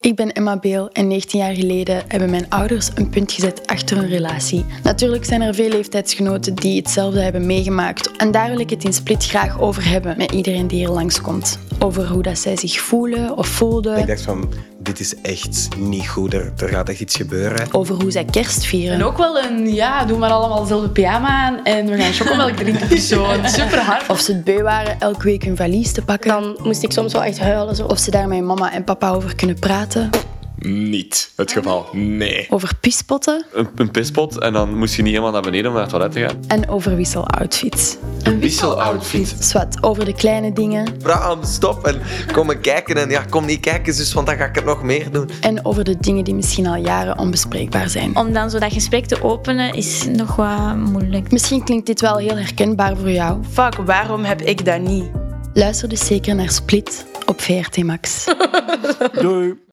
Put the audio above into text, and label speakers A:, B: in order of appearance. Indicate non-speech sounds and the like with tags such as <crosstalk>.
A: Ik ben Emma Beel en 19 jaar geleden hebben mijn ouders een punt gezet achter hun relatie. Natuurlijk zijn er veel leeftijdsgenoten die hetzelfde hebben meegemaakt. En daar wil ik het in Split graag over hebben met iedereen die hier langskomt. Over hoe dat zij zich voelen of
B: Ik
A: voelden.
B: dacht van, dit is echt niet goed, er, er gaat echt iets gebeuren.
A: Over hoe zij kerst
C: En
A: vieren.
C: ook wel een, ja, doe maar allemaal dezelfde pyjama aan en we gaan chocomelk
D: <laughs>
C: drinken persoon. Super hard.
A: Of ze het beu waren elke week hun valies te pakken.
E: Dan moest ik soms wel echt huilen. Zo.
A: Of ze daar met mama en papa over kunnen praten.
F: niet het geval. Nee.
A: Over pispotten
G: een, een pispot en dan moest je niet helemaal naar beneden om naar het toilet te gaan.
A: en over wisseloutfits.
C: Een
F: wisseloutfit.
A: Zwat, over de kleine dingen
H: Bram, stop en kom maar kijken. En ja, kom niet kijken, zus, want dan ga ik het nog meer doen.
A: en over de dingen die misschien al jaren onbespreekbaar zijn.
I: Om dan zo dat gesprek te openen is nog wat moeilijk.
A: Misschien klinkt dit wel heel herkenbaar voor jou.
D: Fuck, waarom heb ik dat niet?
A: Luister dus zeker naar Split op VRT Max.
F: Doei.